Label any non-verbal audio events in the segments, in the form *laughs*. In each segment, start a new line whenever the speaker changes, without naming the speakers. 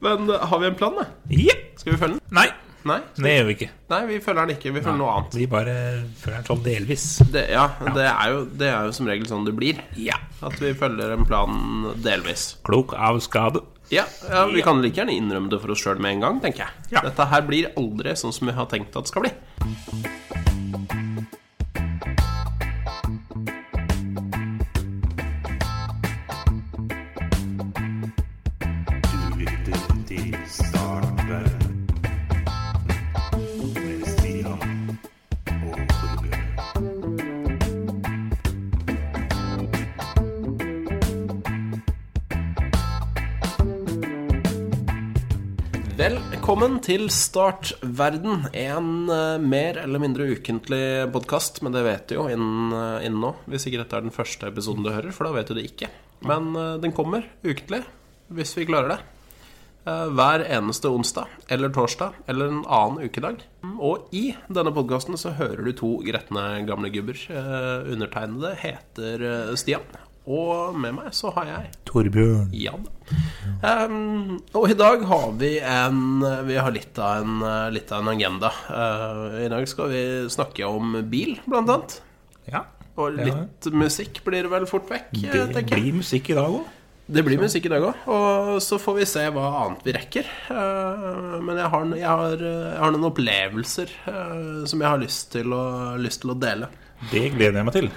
Men eh, har vi en plan, da?
Jepp.
Skal vi følge den?
Nei,
Nei,
det gjør vi ikke.
Nei vi følger den ikke. Vi følger noe annet.
Vi bare følger den sånn delvis.
Det, ja, det er, jo, det er jo som regel sånn det blir.
Ja.
At vi følger en plan delvis.
Klok av skade.
Ja, ja vi
Ja.
kan like gjerne innrømme det for oss sjøl med en gang, tenker jeg.
Ja.
Dette her blir aldri sånn som vi har tenkt at det skal bli.
Du lytter til Startverden med Stian og Torbjørn.
Velkommen til Startverden. En eh, mer eller mindre ukentlig podkast, men det vet du jo innen, eh, innen nå. Hvis ikke dette er den første episoden du hører, for da vet du det ikke. Men eh, den kommer ukentlig, hvis vi klarer det. Eh, Hver eneste onsdag eller torsdag eller en annen ukedag. Og i denne podkasten så hører du to gretne gamle gubber. Eh, Undertegnede heter eh, Stian. Og med meg så har jeg
Torbjørn.
ja da. Ehm, og i dag har vi en Vi har litt av en, litt av en agenda. Eh, I dag skal vi snakke om bil, blant annet.
Ja.
Og
Ja.
litt musikk blir det vel fort vekk, eh,
Det
tenker jeg.
blir musikk i dag òg.
Det blir musikk i dag òg. Og så får vi se hva annet vi rekker. Eh, men jeg har, jeg, har, eh, jeg har noen opplevelser eh, som jeg har lyst til å, lyst til å dele.
Det gleder jeg meg til.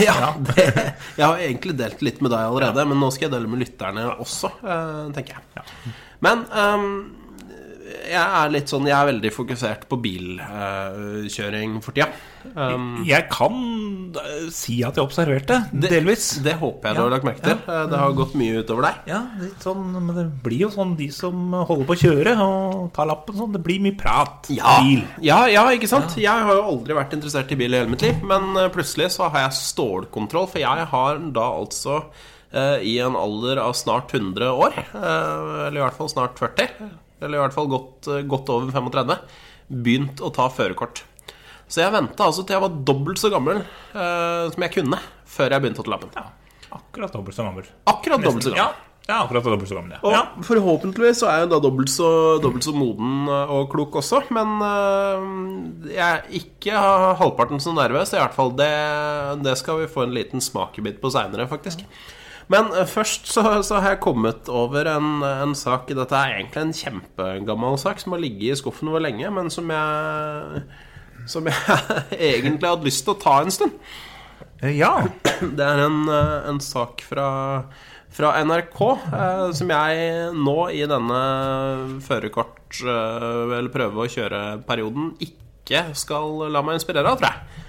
Ja, *laughs* det, jeg har egentlig delt litt med deg allerede, men nå skal jeg dele med lytterne også, eh, tenker jeg. Men ehm, jeg er litt sånn Jeg er veldig fokusert på bilkjøring for tida. Ehm,
Jeg kan eh, si at jeg observerte, delvis.
det håper jeg du har lagt merke til. Eh, Det har gått mye utover deg.
Ja, litt sånn, men det blir jo sånn de som holder på å kjøre og tar lappen sånn. Det blir mye prat. Bil.
ja, ja, ikke sant? Jeg har jo aldri vært interessert i bil i hele mitt liv, men eh, plutselig så har jeg stålkontroll, for jeg har da altså eh, i en alder av snart 100 år, eh, eller i hvert fall snart 40, eller i hvert fall godt, eh, godt over 35, begynt å ta førerkort. Så jeg venta altså til jeg var dobbelt så gammel eh, som jeg kunne, før jeg begynte å ta lappen.
Ja, akkurat dobbelt så gammel.
Akkurat dobbelt så gammel.
Ja, ja akkurat dobbelt så gammel, ja.
Og
ja.
forhåpentligvis så er jeg da dobbelt så, dobbelt så moden eh, og klok også, men øh, jeg er ikke halvparten så nervøs. I hvert fall det, det skal vi få en liten smakebit på seinere, faktisk. Men øh, først så, så har jeg kommet over en, en sak Dette er egentlig en kjempegammel sak som har ligget i skuffen over lenge, men som jeg, som jeg *laughs* egentlig hadde lyst til å ta en stund.
Ja,
Det er en, eh, en sak fra, fra NRK eh, som jeg nå i denne førerkort- eh, eller prøve å kjøre-perioden ikke skal la meg inspirere av, tror jeg.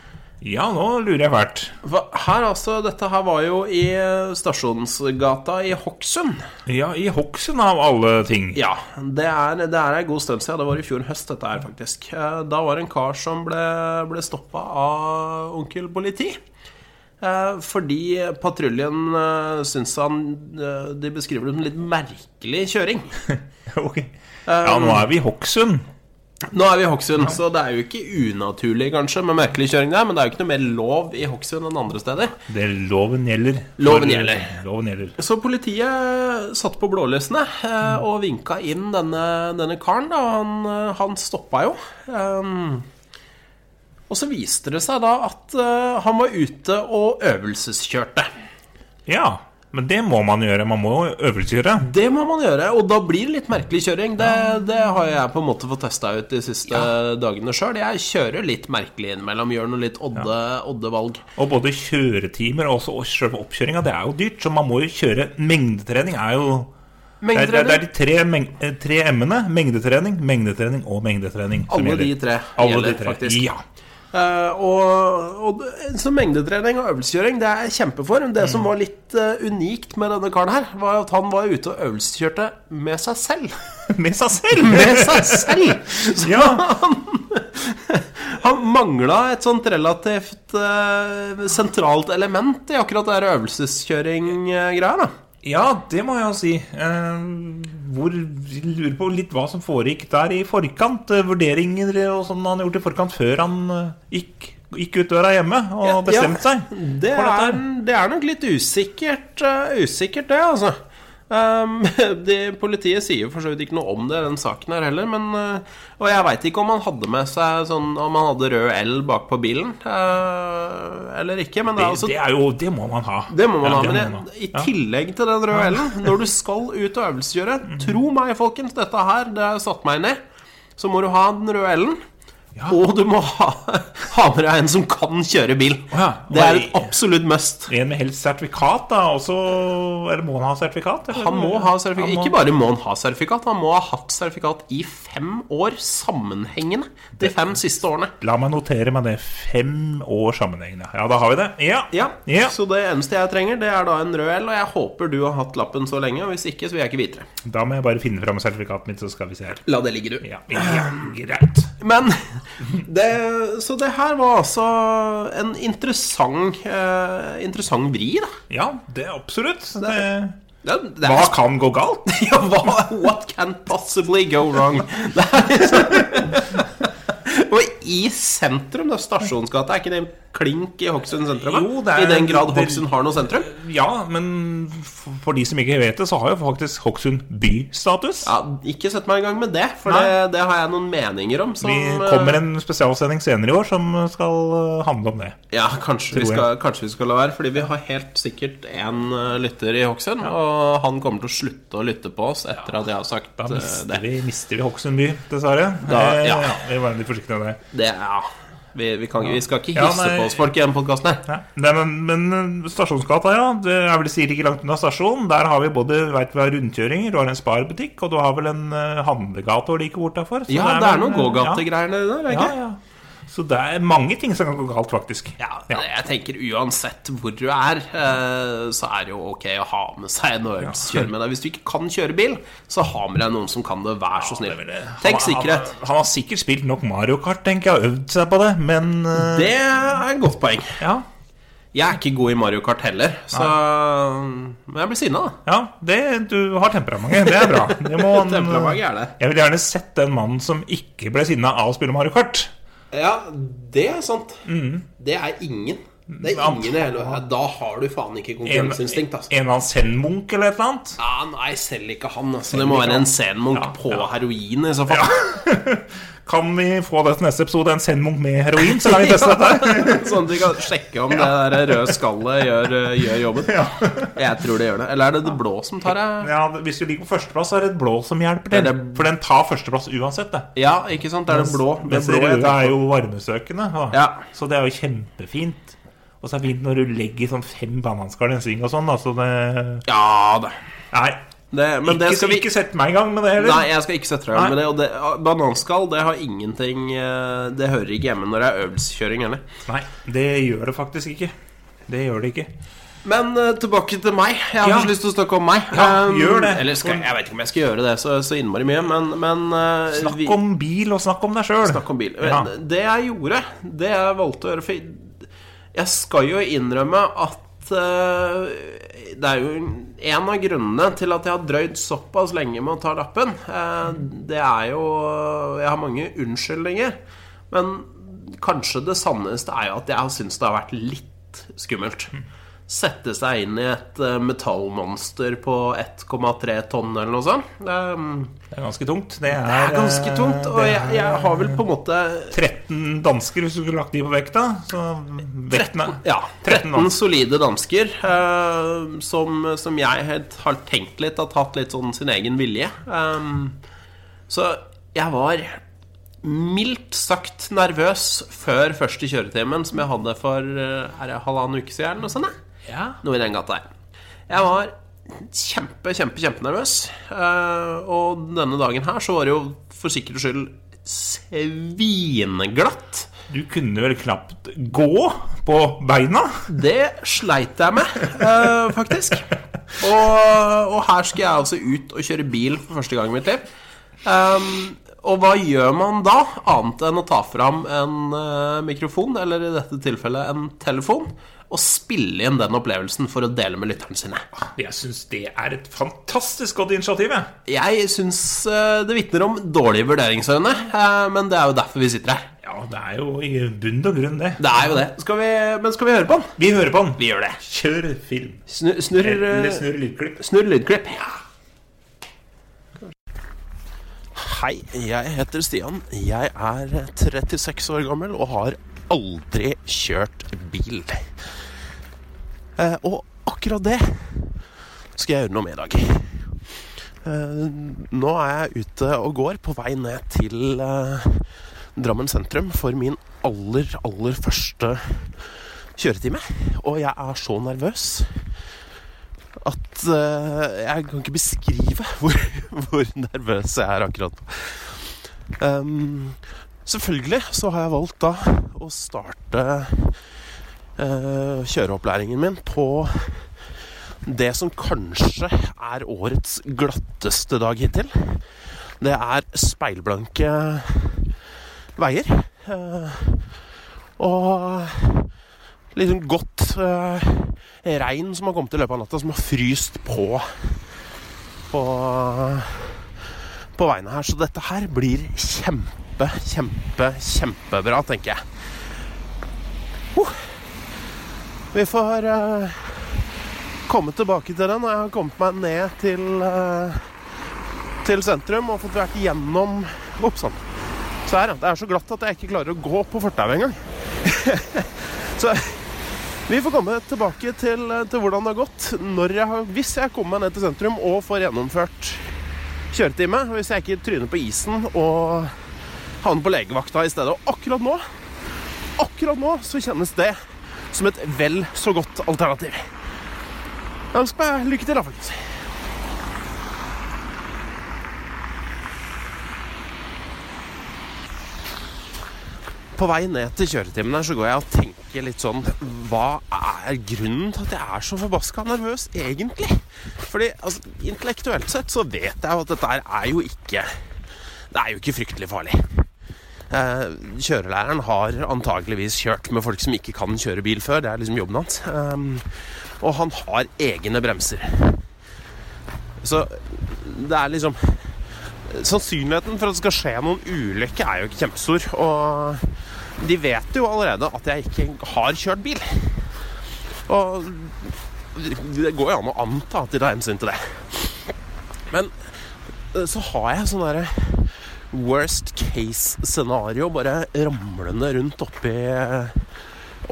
ja nå lurer jeg fælt.
For her altså, Dette her var jo i eh, Stasjonsgata i Hokksund.
Ja, i Hokksund av alle ting.
Ja, det er, det er en god stund siden. Det var i fjor høst, dette her, faktisk. Eh, Da var det en kar som ble, ble stoppa av onkel politi. Eh, Fordi patruljen eh, syns han eh, De beskriver det som litt merkelig kjøring.
*laughs* Ok.
Eh,
Ja, nå er vi i Hokksund.
Nå er vi i Hokksund, så det er jo ikke unaturlig kanskje med merkelig kjøring der, men det er jo ikke noe mer lov i Hokksund enn andre steder.
Det loven gjelder.
Loven gjelder.
Loven gjelder.
Så politiet satt på blålysene eh, og vinka inn denne, denne karen. Da. Han, eh, han stoppa jo. Ehm, og så viste det seg da at eh, han var ute og øvelseskjørte.
Ja, men det må man gjøre. Man må jo øvelseskjøre.
Det må man gjøre, og da blir det litt merkelig kjøring. Det, det har jeg på en måte fått testa ut de siste dagene sjøl. Jeg kjører litt merkelig innimellom, gjør noen litt odde, odde valg.
Og både kjøretimer og også og selve oppkjøringa, det er jo dyrt, så man må jo kjøre Mengdetrening er jo Det er, det er- det er de tre, meng eh, tre M-ene. Mengdetrening, mengdetrening og mengdetrening. som
Alle de
gjelder.
tre
Alle de
gjelder,
tre,
faktisk.
Ja. *laughs*
Eh, og, og det- så mengdetrening og øvelseskjøring, det er jeg kjempefor. Det som var litt eh, unikt med denne karen her, var at han var ute og øvelseskjørte med seg selv.
Med seg selv!
*laughs* Med seg selv! *laughs* Så
Ja.
han, han mangla et sånt relativt eh, sentralt element i akkurat det her øvelseskjøring-greia, da.
ja, det må jeg jo si. Eh, hvor vi Lurer på litt hva som foregikk der i forkant. eh, Vurderinger og sånn han har gjort i forkant før han eh, gikk, gikk ut døra hjemme og bestemte seg.
Det
for dette
er,
her.
det er nok litt usikkert, eh, usikkert det, altså. Um, *laughs* det, politiet sier jo for så vidt ikke noe om det i den saken her heller, men uh, Og jeg veit ikke om han hadde med seg sånn Om han hadde rød L bak på bilen uh, eller ikke, men det
Det,
er altså
det er jo Det må man ha.
det må man
Ja,
ha, men
må
jeg,
man ha.
i tillegg til den røde L-en Når du skal ut og øvelseskjøre,
Mhm.
tro meg, folkens, dette her, det har satt meg ned, så må du ha den røde L-en. Og du må ha, *laughs* ha med deg en som kan kjøre bil.
Å ja.
Det er
Nei.
et absolutt must.
En med helst sertifikat, da. Også, eller må han ha sertifikat? eller?
Han må ha sertifikat.
Han må-
Ikke bare må han ha sertifikat, han må ha hatt sertifikat i fem år sammenhengende. De fem siste årene.
La meg notere meg det. Fem år sammenhengende. Ja, da har vi det. Ja.
Ja, Så det eneste jeg trenger, det er da en rød L, og jeg håper du har hatt lappen så lenge. Og hvis ikke, så vil jeg ikke vite det.
Da må jeg bare finne fram sertifikatet mitt, så skal vi se her.
La det ligge, du.
Ja, ja greit.
Men det, Så det her var altså en interessant, eh, interessant vri, da.
Ja, det er absolutt. Det,
Det, det
hva
er,
kan gå galt?
*laughs* ja, hva, what can possibly go wrong? Det er liksom Og i sentrum, da, Stasjonsgata, er ikke det en klink i Hokksund sentrum? da?
Jo, det er-
I den grad
det-
Hokksund har noe sentrum?
Ja, men for for de som ikke vet det, så har jo faktisk Hokksund bystatus.
Ja, ikke sett meg i gang med det, for
Nei.
det, det har jeg noen meninger om. Som, eh,
Vi kommer en spesialsending senere i år som skal eh, handle om det.
Ja, kanskje vi,
Tror jeg.
skal, kanskje vi skal la være, fordi vi har helt sikkert én lytter i Hokksund, og han kommer til å slutte å lytte på oss etter at jeg har sagt
Da
eh,
mister
det.
vi, mister vi Hokksund by, dessverre.
Da-
Eh,
ja.
Vi var litt forsiktige med det.
det ja. vi, vi, kan, vi skal ikke
Ja,
hisse
nei.
på oss folk i den podkasten her.
Ja. Nei, men, men eh, Stasjonsgata, ja. Det er vel sikkert ikke langt unna stasjonen. Der har vi både vet vi har rundkjøringer, du har en Spar-butikk, og du har vel en eh, handlegate og like bort derfor. Så
Ja, det er
vel,
noen
eh,
gågategreier nedi der, er det
Ja,
ikke?
ja, ja. Så det er mange ting som kan gå galt, faktisk.
Ja, jeg tenker uansett hvor du er, eh, så er det jo ok å ha med seg en øvelseskjører med deg. Hvis du ikke kan kjøre bil, så ha med deg noen som kan det, vær så snill.
Det er vel-
Tenk
han-
sikkerhet.
Han, han har sikkert spilt nok Mario Kart, tenker jeg, og øvd seg på det, men eh,
Det er et godt poeng.
Ja,
Jeg er ikke god i Mario Kart heller, så Men jeg blir sinna, da.
ja det, du har temperamentet. Det er
*laughs*
bra. Det må han,
Temperamentet er det.
Jeg vil gjerne sett den mannen som ikke ble sinna av å spille Mario Kart.
Ja, det er sant. Det er ingen. Det er
Ja.
ingen i hele verden. Da har du faen ikke
En,
konkurranseinstinkt, altså.
en av Zen-Munch eller et eller annet.
Ja, nei, selv ikke han. Altså. Det må være en senmunk
Ja,
på heroin i så *laughs* fall.
Kan vi få det til neste episode, en Zen-Munch med heroin, så kan vi teste dette? her?
*laughs* sånn at vi kan sjekke om det der røde skallet gjør, eh, gjør jobben. Jeg tror det gjør det. Eller er det det blå som tar det?
Ja, hvis du ligger på førsteplass, så er det blå som hjelper til.
Det er det-
For den tar førsteplass uansett, det.
Ja, ikke sant? Det er det blå. Det
Mens
blå jeg
røde
tenker
er jo varmesøkende. da.
Ja.
Så det er jo kjempefint. Og så er det fint når du legger sånn fem bananskall i en sving og sånn. Da, så det
på. Ja da.
Nei.
Det, men det
ikke,
skal vi
ikke sette meg i gang med det heller.
Nei, jeg skal ikke sette deg
Nei.
med det. Og det, bananskall, det har ingenting eh, Det hører ikke hjemme når det er øvelseskjøring heller.
Nei, det gjør det faktisk ikke. Det gjør det ikke.
Men eh, tilbake til meg. Jeg har
Ja.
så lyst til å snakke om meg. Um,
Ja, gjør det.
Eller skal, jeg vet ikke om jeg skal gjøre det så, så innmari mye, men, men eh,
Snakk
vi-
om bil, og snakk om deg sjøl.
Snakk om bil.
Ja.
Det jeg gjorde, det jeg valgte å gjøre For jeg skal jo innrømme at eh, Det er jo en av grunnene til at jeg har drøyd såpass lenge med å ta lappen. eh, det er jo Jeg har mange unnskyldninger. Men kanskje det sanneste er jo at jeg har syntes det har vært litt skummelt.
Mm.
Sette seg inn i et eh, metallmonster på 1,3 tonn eller noe sånt. Eh,
Det er ganske tungt. Det er,
det er ganske
eh,
tungt, og
det
jeg,
er
jeg har vel på en måte
13 dansker, hvis du skulle lagt de på vekta. Så vekten er
ja,
13
13,
dansker.
solide dansker eh, som, som jeg helt har tenkt litt har tatt litt sånn sin egen vilje. Ehm, så jeg var mildt sagt nervøs før første kjøretimen, som jeg hadde for eh, er det halvannen uke siden, eller noe sånt. da?
Ja.
Noe i den gata her. Jeg var kjempe, kjempe, kjempenervøs. Eh, og denne dagen her så var det jo for sikkerhets skyld svinglatt.
Du kunne vel knapt gå på beina?
Det sleit jeg med, eh, faktisk. Og, og her skal jeg altså ut og kjøre bil for første gang i mitt liv. Um, og hva gjør man da, annet enn å ta fram en eh, mikrofon, eller i dette tilfellet en telefon, og spille inn den opplevelsen for å dele med lytterne sine?
Jeg syns det er et fantastisk godt initiativ. jeg.
Jeg syns eh, det vitner om dårlige vurderingsøyne, eh, men det er jo derfor vi sitter her.
Ja, Ja, det er jo i bunn og grunn, det.
Det er jo det. Skal vi, men skal vi høre på den?
Vi hører på den.
Vi gjør det.
Kjør film.
Snurr snurr,
Eller
eh,
snurr lydklipp.
snurr lydklipp. Hei, jeg heter Stian. Jeg er 36 år gammel og har aldri kjørt bil. Eh, og akkurat det skal jeg gjøre noe med i dag. Eh, nå er jeg ute og går på vei ned til eh, Drammen sentrum for min aller, aller første kjøretime. Og jeg er så nervøs at eh, jeg kan ikke beskrive *laughs* hvor, hvor nervøs jeg er akkurat nå. Ehm, selvfølgelig så har jeg valgt da å starte eh, kjøreopplæringen min på det som kanskje er årets glatteste dag hittil. Det er speilblanke veier. eh, og liksom godt eh, regn som har kommet i løpet av natta, som har fryst på på, på veiene her. Så dette her blir kjempe, kjempe, kjempebra, tenker jeg. Huh. Vi får eh, komme tilbake til det når jeg har kommet meg ned til, eh, til sentrum og fått vært gjennom Oppsand. Så her, ja. Det er så glatt at jeg ikke klarer å gå på fortauet engang. *laughs* så vi får komme tilbake til, til hvordan det har gått når jeg har, hvis jeg kommer meg ned til sentrum og får gjennomført kjøretime. Hvis jeg ikke tryner på isen og havner på legevakta i stedet. Og akkurat nå, akkurat nå så kjennes det som et vel så godt alternativ. Jeg ønsker meg lykke til, da, folkens. På vei ned til kjøretimen her så går jeg og tenker litt sånn Hva er grunnen til at jeg er så forbaska nervøs, egentlig? Fordi altså, intellektuelt sett så vet jeg jo at dette her er jo ikke Det er jo ikke fryktelig farlig. Eh, kjørelæreren har antakeligvis kjørt med folk som ikke kan kjøre bil før. Det er liksom jobben hans. Eh, og han har egne bremser. Så det er liksom Sannsynligheten for at det skal skje noen ulykke, er jo ikke kjempestor. Og de vet jo allerede at jeg ikke har kjørt bil. Og det går jo an å anta at de tar hensyn til det. Men eh, så har jeg sånn derre worst case-scenario bare ramlende rundt oppi, eh,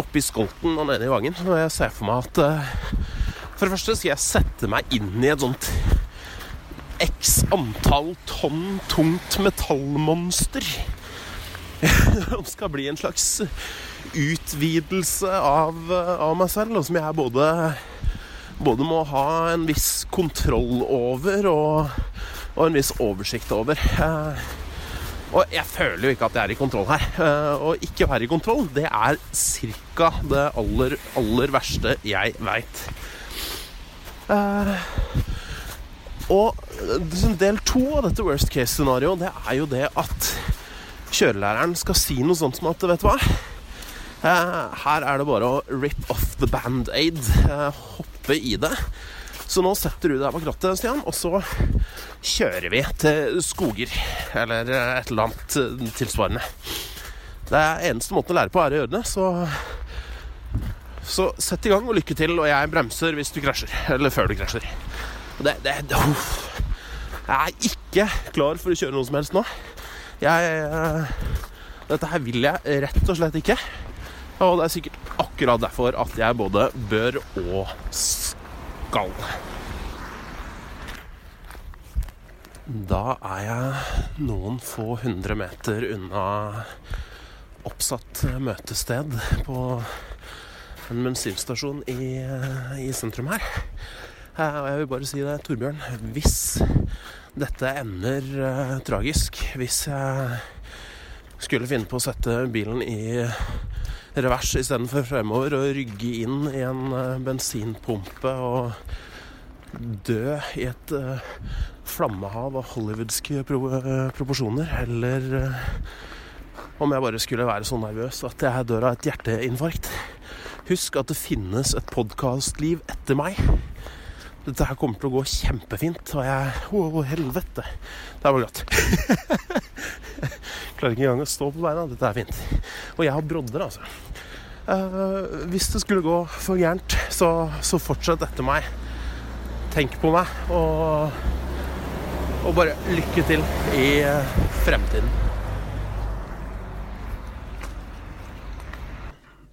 oppi skolten og nede i vangen. Og jeg ser for meg at eh, For det første skal jeg sette meg inn i et sånt x antall tonn tungt metallmonster. *laughs* Som skal bli en slags utvidelse av, eh, av meg selv, og som jeg både, både må ha en viss kontroll over og, og en viss oversikt over. Eh, Og jeg føler jo ikke at jeg er i kontroll her. Eh, Og ikke å være i kontroll, det er cirka det aller, aller verste jeg veit. Og eh, del to av dette worst case-scenarioet, det er jo det at kjørelæreren skal si noe sånt som at, vet du hva Eh, Her er det bare å rip off the band-aid, eh, hoppe i det. Så nå setter du deg bak rattet, Stian, og så kjører vi til skoger. Eller eh, et eller annet eh, tilsvarende. Det er eneste måten å lære på er å gjøre det, så Så sett i gang og lykke til, og jeg bremser hvis du krasjer. Eller før du krasjer. Og Det, det, det uff. Jeg er ikke klar for å kjøre noe som helst nå. Jeg eh, Dette her vil jeg rett og slett ikke. Og det er sikkert akkurat derfor at jeg både bør og skal. Da er jeg noen få hundre meter unna oppsatt møtested på en bensinstasjon i, i sentrum her. Eh, Og jeg vil bare si det, Torbjørn. Hvis dette ender eh, tragisk, hvis jeg skulle finne på å sette bilen i revers istedenfor fremover og rygge inn i en eh, bensinpumpe og dø i et eh, flammehav av hollywoodske pro eh, proporsjoner, eller eh, om jeg bare skulle være så nervøs at jeg dør av et hjerteinfarkt. Husk at det finnes et podkastliv etter meg. Dette her kommer til å gå kjempefint. Og jeg Å, helvete. Det her var glatt. Klarer ikke engang å stå på beina. Dette er fint. Og jeg har brodder, altså. Eh, hvis det skulle gå for gærent, så, så fortsett etter meg. Tenk på meg, og, og bare lykke til i eh, fremtiden.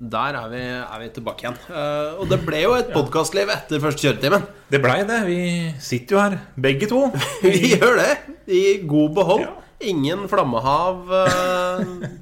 Der er vi, er vi tilbake igjen. Eh, og det ble jo et podkastliv etter første kjøretimen.
Det blei det. Vi sitter jo her, begge
*laughs*
to.
Vi gjør det! I god behold.
Ja.
Ingen flammehav. eh,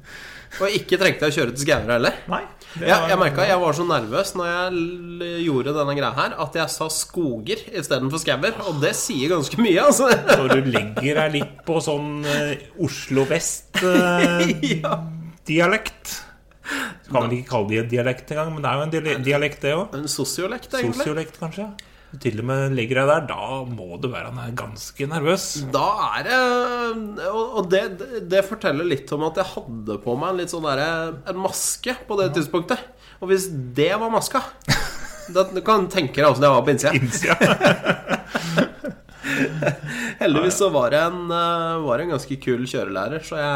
og ikke trengte jeg å kjøre til Skaura heller.
Nei. det
Ja,
var-
jeg merka jeg var så nervøs når jeg l- gjorde denne greia her, at jeg sa skoger istedenfor skauer. Og det sier ganske mye, altså. *laughs*
Når du legger deg litt på sånn eh, Oslo vest-dialekt. Du kan vel ikke kalle det en dialekt engang, men det er jo en diale- dialekt, det òg.
En sosiolekt, egentlig.
Sosiolekt, kanskje. Du til og med legger deg der. Da må du være ganske nervøs.
Da er det Og og det, det forteller litt om at jeg hadde på meg en litt sånn derre En maske på det tidspunktet. Og hvis det var maska da Du kan tenke deg åssen jeg var på innsida.
Innsida.
Heldigvis så var det en, eh, var det en ganske kul kjørelærer, så jeg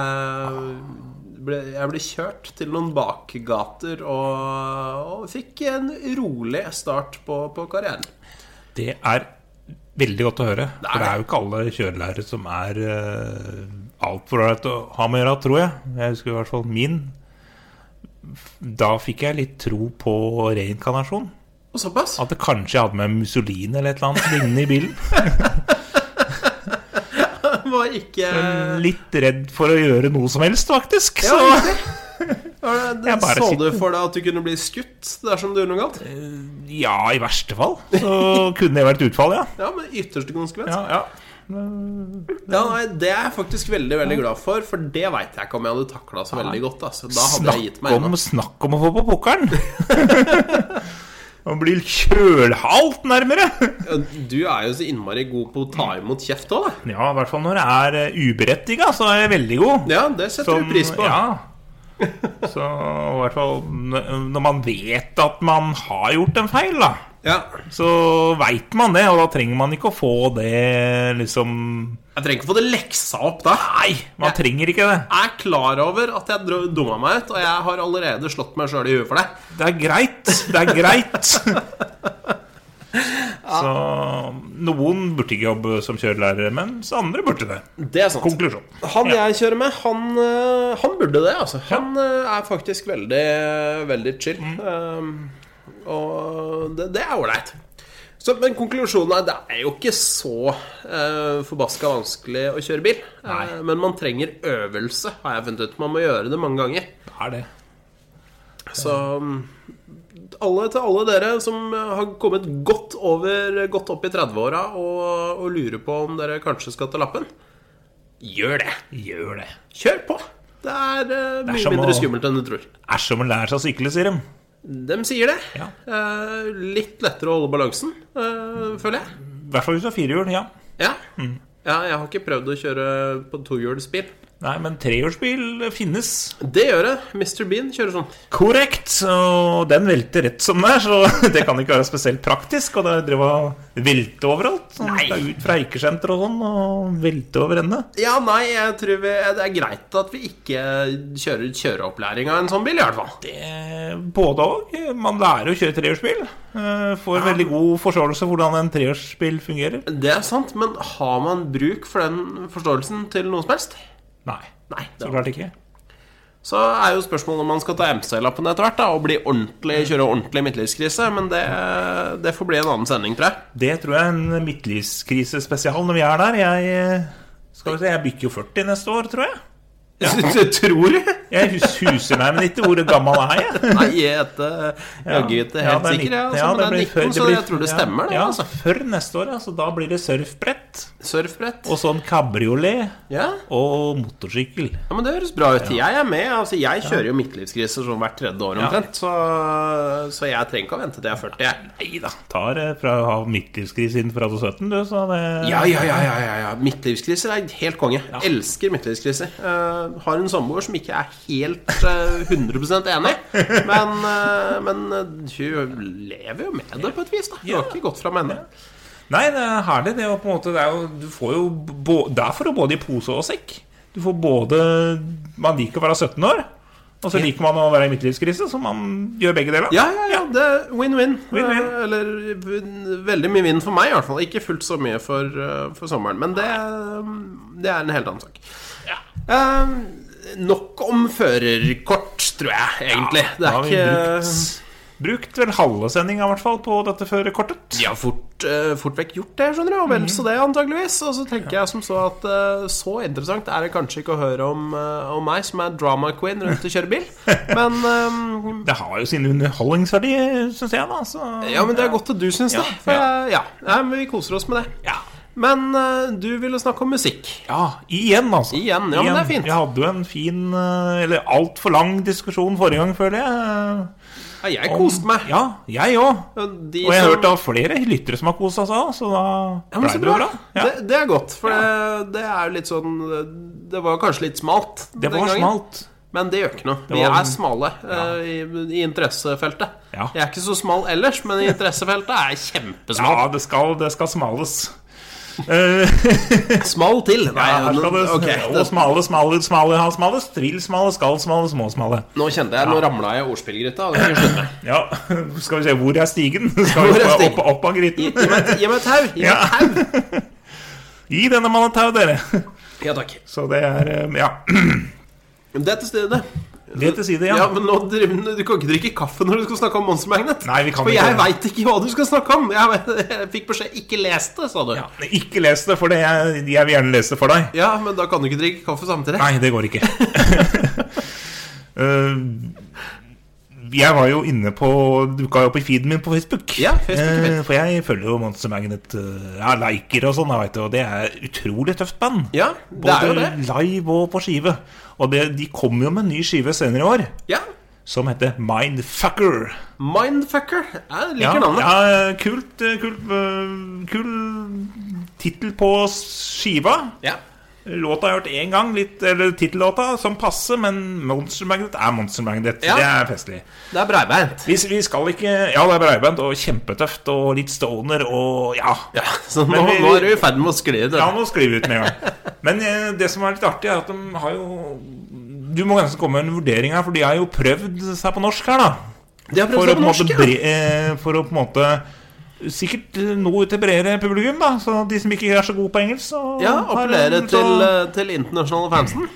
ble, jeg ble kjørt til noen bakgater og, og fikk en rolig start på, på karrieren.
Det er veldig godt å høre.
er
For det er jo ikke alle kjørelærere som er uh, altfor ålreit å ha med å gjøre, tror jeg. Jeg husker i hvert fall min. Da fikk jeg litt tro på reinkarnasjon.
Og såpass.
At det kanskje jeg hadde med Mussolini eller et eller annet lignende i
*laughs*
bilen.
Var ikke
Litt redd for å gjøre noe som helst, faktisk.
Ja,
Så
riktig. Var det-
Jeg bare
Så
sitter.
du for deg at du kunne bli skutt dersom du gjorde noe galt?
ja, i verste fall så kunne det vært utfall, ja.
Ja, med ytterste konsekvens.
ja, ja.
Ja, nei, Det er jeg faktisk veldig veldig glad for, for det veit jeg ikke om jeg hadde takla så veldig godt. Altså. Da hadde jeg gitt
Snakk,
meg
om, snakk om å få på pukkelen!
*laughs*
Man blir kjølhalt nærmere!
ennå. Du er jo så innmari god på å ta imot kjeft òg, da.
Ja, i hvert fall når jeg er eh, uberettiga, så er jeg veldig god.
Ja, det setter
Som-
du pris på.
Ja. Så i hvert fall n- når man vet at man har gjort en feil, da.
Ja.
Så veit man det, og da trenger man ikke å få det liksom
Jeg trenger ikke få det leksa opp da.
Nei, man
Ja.
trenger ikke det.
Jeg er klar over at jeg dro- dumma meg ut, og jeg har allerede slått meg sjøl i huet for det.
Det er greit. Det er greit.
*laughs*
Så noen burde ikke jobbe som kjørelærere, mens andre burde det.
Det er sant.
Konklusjon.
Han jeg kjører med, han, øh, han burde det, altså. Han øh, er faktisk veldig, veldig chill.
Mm.
Um, og det, det er ålreit. Så, men konklusjonen er det er jo ikke så uh, forbaska vanskelig å kjøre bil.
Nei.
Eh, men man trenger øvelse, har jeg funnet ut. Man må gjøre det mange ganger.
Det er det.
Så mm, alle, til alle dere som eh, har kommet godt, over, godt opp i 30-åra og, og lurer på om dere kanskje skal ta lappen, gjør det.
Gjør det.
Kjør på! Det er eh,
er
mye
som
mindre
å-
skummelt enn du tror.
Er som å lære seg å sykle, sier de.
De sier det.
Ja.
Eh, litt lettere å holde balansen, eh, føler jeg.
I hvert fall hvis du har firehjul. Ja.
Ja.
Mm.
ja. Jeg har ikke prøvd å kjøre på tohjulsbil.
Nei, men trehjulsbil finnes.
Det gjør jeg. Mr. Bean kjører sånn.
Korrekt. Og den velter rett som det er, så *laughs* det kan ikke være spesielt praktisk. Og det driver og velte overalt. Sånn,
Nei.
det er ut fra eikesenter og sånn, og velte over ende.
Ja, nei, jeg tror vi, det er greit at vi ikke kjører kjøreopplæring av en sånn bil, i hvert fall.
Eh, Både òg. Man lærer å kjøre trehjulsbil. eh, Får veldig god forståelse av hvordan en trehjulsbil fungerer.
Det er sant, men har man bruk for den forståelsen til noe som helst?
Nei,
Nei.
så klart ikke.
Så er jo spørsmålet om man skal ta MC-lappen etter hvert da, og bli ordentlig, kjøre ordentlig midtlivskrise, men det, det får bli en annen sending, tror jeg.
Det tror jeg er en midtlivskrisespesial når vi er der. Jeg eh, skal vi se, jeg bikker jo 40 neste år, tror jeg.
tror *laughs* du?
Jeg hus huser meg men ikke hvor gammel er jeg
Nei, jeg heter jaggu ikke helt
Ja, det
sikker,
er
jeg.
nitten-
Altså,
ja,
men det er
blir før-
19, så
blir-
jeg tror det
ja,
stemmer, det.
Ja,
Altså.
før neste år, altså. Da blir det surfbrett
Surfbrett.
og sånn kabriolet
Ja.
og motorsykkel.
ja, men det høres bra ut. Jeg er med. Altså, jeg kjører jo midtlivskrise sånn hvert tredje år omtrent, så, så jeg trenger ikke å vente til jeg er 40, jeg.
Nei da. Tar eh, fra å ha midtlivskrise siden fra 2017, du, så det
Ja, ja, ja, ja, ja, ja. Midtlivskriser er helt konge. Elsker midtlivskriser. Eh, har en samboer som ikke er helt eh, 100
*laughs*
enig, men, eh, men eh, hun lever jo med det på et vis. da Hun har ikke gått fra med henne.
Nei, det er herlig. Det, er jo på en måte, det, er jo, du får jo bå, det er for å både i pose og sekk. Du får både Man liker å være 17 år, og så liker man å være i midtlivskrise, så man gjør begge deler.
Ja, ja, ja, det er win-win.
Win-win.
Eh, Eller vin- veldig mye vinn for meg, i hvert fall. Ikke fullt så mye for, eh, for sommeren. Men det, eh, det er en helt annen sak. Eh, nok om førerkort, tror jeg, egentlig. Det
Da
er
har vi
ikke
brukt, brukt vel halve sendinga, i hvert fall, på dette førerkortet.
De har fort, eh, fort vekk gjort det, skjønner du. Og vel så det, antageligvis. Og så tenker jeg som så at eh, så interessant er det kanskje ikke å høre om, eh, om meg, som er drama queen rundt og kjører *laughs* bil. Men eh,
Det har jo sin underholdningsverdi, syns jeg, da. Så,
Ja, men det er godt at du syns det.
Ja,
For
ja.
jeg, ja. Nei, men vi koser oss med det.
Ja.
Men eh, du ville snakke om musikk.
Ja, igjen, altså.
Igjen, ja, men det er fint.
Jeg hadde jo en fin, eh, eller altfor lang diskusjon forrige gang, føler jeg. Eh,
Ja, jeg koste meg.
Ja, jeg òg.
Og de
Og jeg har
som-
hørt av flere lyttere som har kosa seg, så da
ja, men
ble
så
det jo
bra.
bra. Ja.
Det, det er godt, for det, det er jo litt sånn Det var kanskje litt smalt
Det
den
var
gangen,
smalt.
men det gjør ikke noe. Vi
var-
er smale eh, i, i interessefeltet.
Ja.
Jeg er ikke så smal ellers, men i interessefeltet er jeg kjempesmal.
Ja, det skal, det skal smales. Eh,
Smal til. *laughs* Nei,
ja, her skal det,
ok,
Og
det,
smale, smale, smale, ha smalest. Vil smale, skal smale, små smale.
nå kjente jeg Nå ramla jeg i ordspillgryta. og det kan jeg skjønne.
Ja, *laughs* skal vi se, hvor er stigen? *laughs* Skal
Hvor
vi
er
opp,
stigen?
opp, opp av
Gi,
gryten?
gi meg gi meg et tau! Gi meg
Ja.
et tau!
Gi denne mannen et tau, dere. *laughs*
Ja, takk.
Så det er eh, Ja.
Det er til stede.
Det til side,
Ja,
ja.
men nå, driver- Du kan ikke drikke kaffe når du skal snakke om Monster Magnet.
Nei, vi kan
For
ikke
jeg
det.
veit ikke hva du skal snakke om. Jeg, vet- jeg fikk beskjed 'ikke les det', sa du. Ja.
Ikke les det, for det jeg, jeg vil gjerne lese det for deg.
men da kan du ikke drikke kaffe samtidig.
Nei, det
*laughs*
går ikke. Eh, jeg var jo inne på Dukka jo opp i feeden min på Facebook.
Ja, Facebook er fint.
Eh, for jeg følger jo Monster Magnet. eh, Jeg liker og sånn, jeg vet, du, og det er utrolig tøft band.
Ja, det er jo
Både
det.
live og på skive. Og det, de kom jo med en ny skive senere i år
Ja.
som heter Mindfucker.
Mindfucker. Jeg liker
Ja,
navnet.
ja, kult eh, kult, eh, kul tittel på skiva.
Ja.
Låta har jeg hørt én gang, litt, eller tittellåta, som passer, men Monster Magnet er Monster Magnet.
Ja.
Det er festlig.
Det er breibeint.
Vi, vi skal ikke Ja, det er breibeint og kjempetøft og litt stoner og ja.
Ja, så nå,
Men vi-
nå er du i ferd med å skli ut.
La
Ja.
nå sklir vi ut med en gang. Men eh, det som er litt artig, er at de har jo Du må nesten komme med en vurdering her, for de har jo prøvd seg på norsk her, da.
De har
For
prøvd
å
seg på
på en måte,
norsk, ja.
bre, eh, for å på en måte Sikkert nå ut til bredere publikum, da. Så de som ikke er så gode på engelsk, så
Ja,
har de-
Appellere
så-
til, eh, til internasjonale fansen.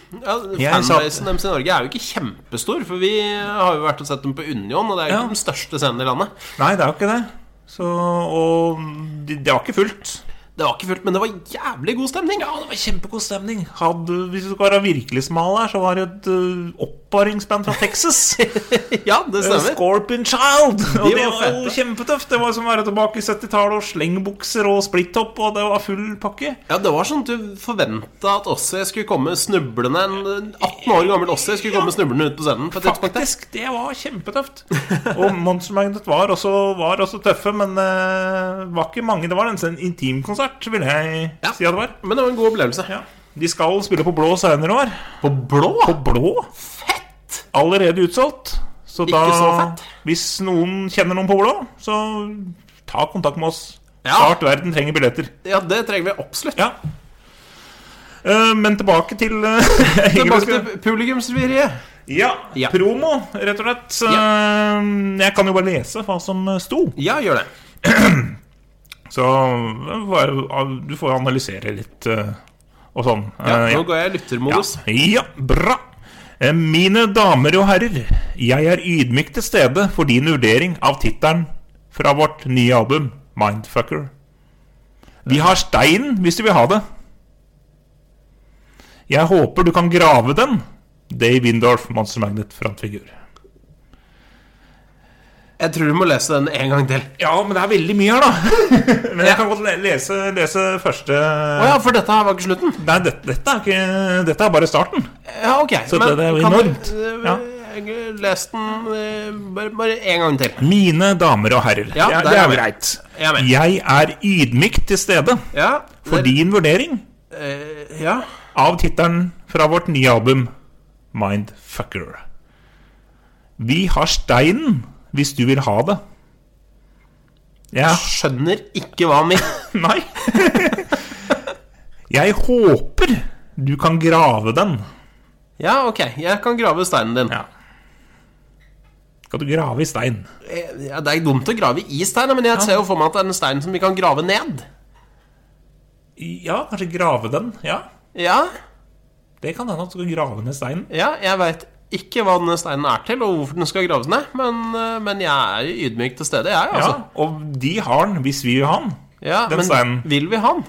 Ja,
Jeg sa-
Fanbasen deres i Norge er jo ikke kjempestor, for vi har jo vært og sett dem på Union, og det er jo
Ja.
ikke den største scenen i landet.
Nei, det er jo ikke det. Så, og de- det var ikke fullt.
Det var ikke fullt, men det var jævlig god stemning. Ja, det var
Kjempegod stemning. Hadde, hvis du skal være virkelig smal her, så var det et uh, oppbaringsband fra
*laughs*
Texas.
*laughs* Ja, det
Eh,
stemmer.
Scorpion Child! Og
De
det
var
var jo
fete.
kjempetøft. Det var som å være tilbake i 70-tallet og slengbukser og splittopp, og det var full pakke.
Ja, Det var sånn at du forventa at Ossie skulle komme snublende En 18 år gammel Ossie skulle komme snublende ut på scenen. på et tidspunkt der.
Faktisk, det var kjempetøft. Og Monster Magnet var også, var også tøffe, men uh, var ikke mange. Det var nesten en sånn intimkonsert, vil jeg
Ja.
si at det var.
Men det var en god opplevelse.
Ja. De skal spille på blå senere i år.
På blå?
På blå?
Fett!
Allerede utsolgt. Så
Ikke
da,
så fett.
hvis noen kjenner noen på blå, så ta kontakt med oss.
Ja.
Snart verden trenger billetter.
Ja, det trenger vi absolutt.
Ja. Eh, men tilbake til eh, *laughs* egentlig
Tilbake
skal-
til publikumsvirriet.
ja,
Ja.
promo, rett og slett. Så, eh, Jeg kan jo bare lese hva som eh, sto.
Ja, gjør det.
Så eh, hva- du får analysere litt eh, og sånn.
Ja,
Eh, ja.
nå går jeg i lyttermodus.
Ja, bra. Eh, Mine damer og herrer, jeg er ydmyk til stede for din vurdering av tittelen fra vårt nye album, Mindfucker. Vi har steinen hvis du vil ha det. Jeg håper du kan grave den. Dave Windorf, Monster Magnet, frontfigur.
Jeg tror du må lese den en gang til.
Ja, men det er veldig mye her, *laughs* da. men jeg kan godt le- lese, lese første
Å ja, for dette her var ikke slutten?
Nei, dette, dette, er ikke, dette er bare starten.
Ja, ok.
Så det er jo
kan
enormt.
du eh,
Ja.
eh, Les den eh, bare, bare en gang til.
Mine damer og herrer,
Ja,
det, er-
der
det
er
er
vi.
greit.
Jeg er med.
Jeg er ydmykt til stede
Ja.
for din vurdering
eh, Ja.
av tittelen fra vårt nye album Mindfucker. Vi har steinen hvis du vil ha det. Ja.
Skjønner ikke hva han vil.
Nei. *laughs* Jeg håper du kan grave den.
Ja, ok, jeg kan grave steinen din.
Ja. Skal du grave i stein?
Eh, Ja, det er dumt å grave i steinen, men jeg ser jo for meg at det er en stein som vi kan grave ned.
Ja, kanskje grave den. Ja,
Ja,
det kan hende at du skal grave ned steinen.
ja jeg veit ikke hva denne steinen er til, og hvorfor den skal graves ned, men, eh, men jeg er ydmyk til stede, jeg,
Ja,
altså.
og de har den hvis vi vil ha den.
Ja,
Den
men
steinen.
vil vi ha den?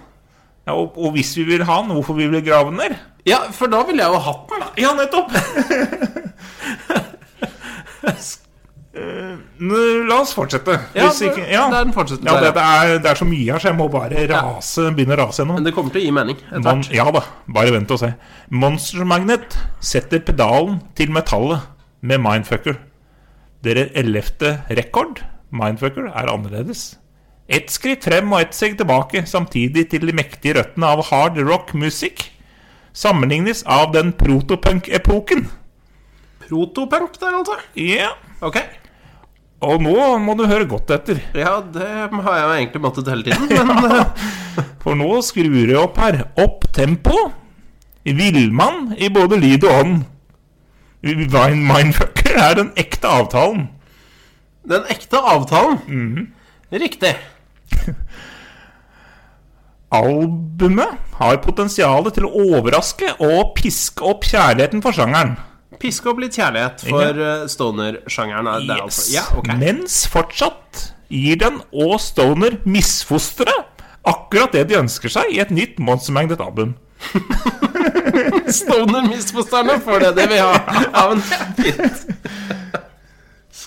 Ja, og, og hvis vi vil ha den, hvorfor vil vi grave den ned?
Ja, for da ville jeg jo hatt den.
Ja, *laughs* nettopp! Eh, nå, La oss fortsette.
Ja,
Hvis ikke, ja.
det er den fortsetter
ja
der,
det, det, er, det er så mye her, så jeg må bare rase, begynne å rase gjennom.
Men det kommer til å gi mening. etter
Mon
hvert.
ja da, bare vent og se. Monster Magnet setter pedalen til metallet med Mindfucker. Dere ellevte rekord, Mindfucker, er annerledes. Ett skritt frem og ett steg tilbake, samtidig til de mektige røttene av hard rock-musikk. Sammenlignes av den protopunk-epoken.
Protopunk der, altså.
Ja,
Ok.
og nå må du høre godt etter,
Ja, det har jeg jo egentlig måttet hele *laughs* tiden, men eh,
for nå skrur jeg opp her. Opp tempo. Villmann i både lyd og ånd. Vine Mindfucker er den ekte avtalen.
den ekte avtalen Riktig.
Albumet har potensial til å overraske og piske opp kjærligheten for sjangeren.
Piske opp litt kjærlighet for eh, stoner-sjangeren. er det altså. Ja, ok. *laughs*
Mens fortsatt gir den og Stoner misfosteret akkurat det de ønsker seg i et nytt Monster Magnet-album.
Stoner-misforstanderne får det de vil ha. Ja, men det er fint.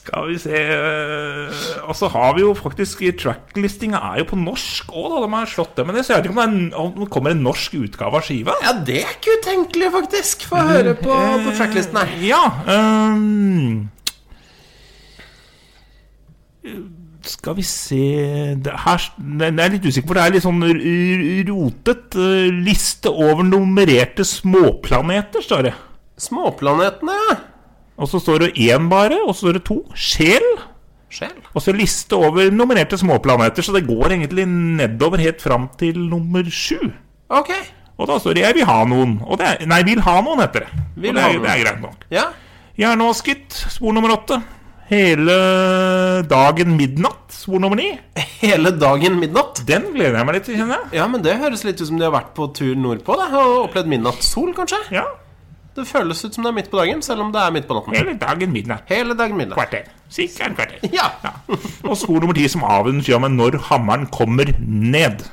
Skal vi se øh, Og så har vi jo faktisk Tracklistinga er jo på norsk òg, da. De har slått det. Men jeg vet ikke om det, er, en- om det kommer en norsk utgave av skiva.
Ja, det er ikke utenkelig, faktisk. Få høre på, på tracklisten her.
Ja eh, øhm, Skal vi se det her, nei, Jeg er litt usikker, for det er litt sånn r- r- rotet. øh, Liste over nummererte småplaneter, står det.
Småplanetene, ja.
Og så står det én bare, og så står det to. Sjel.
Sjel.
Og så liste over nummererte småplaneter, så det går egentlig nedover helt fram til nummer sju.
Ok.
Og da står det 'Jeg vil ha noen'. Og det er, nei, 'Vil ha noen', heter det.
Vil
og det
ha
er,
noen.
det er greit nok.
Ja.
Jernåsket, spor nummer åtte. Hele dagen midnatt, spor nummer ni.
Hele dagen midnatt.
Den gleder jeg meg litt til, kjenner jeg.
Ja, men det høres litt ut som de har vært på tur nordpå da, og opplevd midnattssol, kanskje.
Ja,
Det føles ut som det er midt på dagen, selv om det er midt på natten.
hele dagen midnatt.
Hele dagen midnatt.
Kvarter. Sikkert kvarter.
Ja.
Ja. Og spor nummer ti som avgjør sier meg når hammeren kommer ned.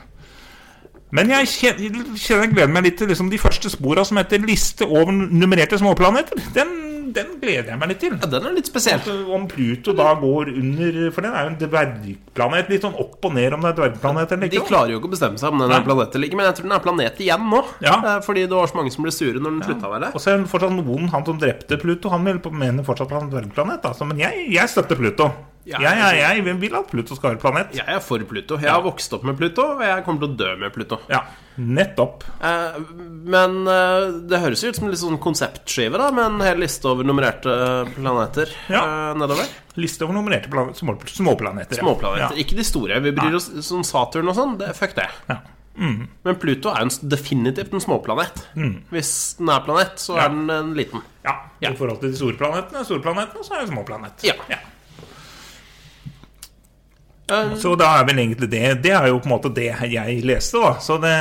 Men jeg kjenner, kjenner jeg gleder meg litt til liksom de første spora som heter 'Liste over nummererte småplaneter'. Den, den gleder jeg meg litt til.
ja, den er litt spesiell.
Om Pluto da går under For den er jo en dvergplanet. Litt sånn opp og ned om det er dvergplanet eller
De
ikke. da.
klarer jo ikke å bestemme seg om den er
Nei.
planet eller ikke, men jeg tror den er planet igjen nå.
Ja.
Eh, Fordi det var så mange som ble sure når den slutta å være
Og så er det fortsatt noen, han som drepte Pluto, han vil på- mener fortsatt på en dvergplanet. Altså. Men jeg, jeg støtter Pluto.
Ja,
jeg, jeg, jeg vil- vil at Pluto skal være planet.
Jeg er for Pluto. Jeg har vokst opp med Pluto, og jeg kommer til å dø med Pluto.
Ja, nettopp.
Eh, men eh, det høres jo ut som en litt sånn konseptskive, da, med en hel liste over nummererte planeter
Ja.
eh, nedover.
Liste over nummererte plan små, småplaneter. ja.
Småplaneter.
Ja.
Ikke de store. Vi bryr oss som Saturn og sånn. Det, fuck det.
Ja. Mm.
Men Pluto er jo en, s- definitivt en småplanet. Hvis den er planet, så er den en liten.
Ja.
Ja.
I forhold til de store planetene, store planetene, så er det småplanet.
Ja. Eh,
Så da er vel egentlig det Det er jo på en måte det jeg leste, da. Så det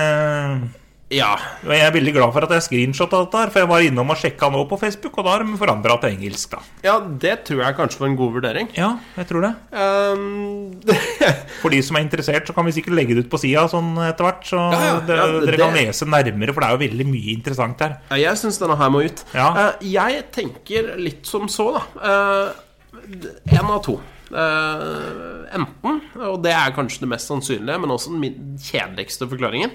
ja.
og Jeg er veldig glad for at jeg screenshotta dette, her for jeg var innom og sjekka nå på Facebook, og da har de forandra til engelsk, da.
ja, det tror jeg kanskje var en god vurdering.
Ja, jeg tror det.
Ehm, *laughs*
For de som er interessert, så kan vi sikkert legge det ut på sida sånn etter hvert. Så
Ja, ja,
det,
ja, det-
dere kan lese nærmere, for det er jo veldig mye interessant her.
Ja, Eh, Jeg syns denne her må ut.
Ja.
Eh, Jeg tenker litt som så, da. Én av to. Eh, enten, og det er kanskje det mest sannsynlige, men også den min- kjedeligste forklaringen,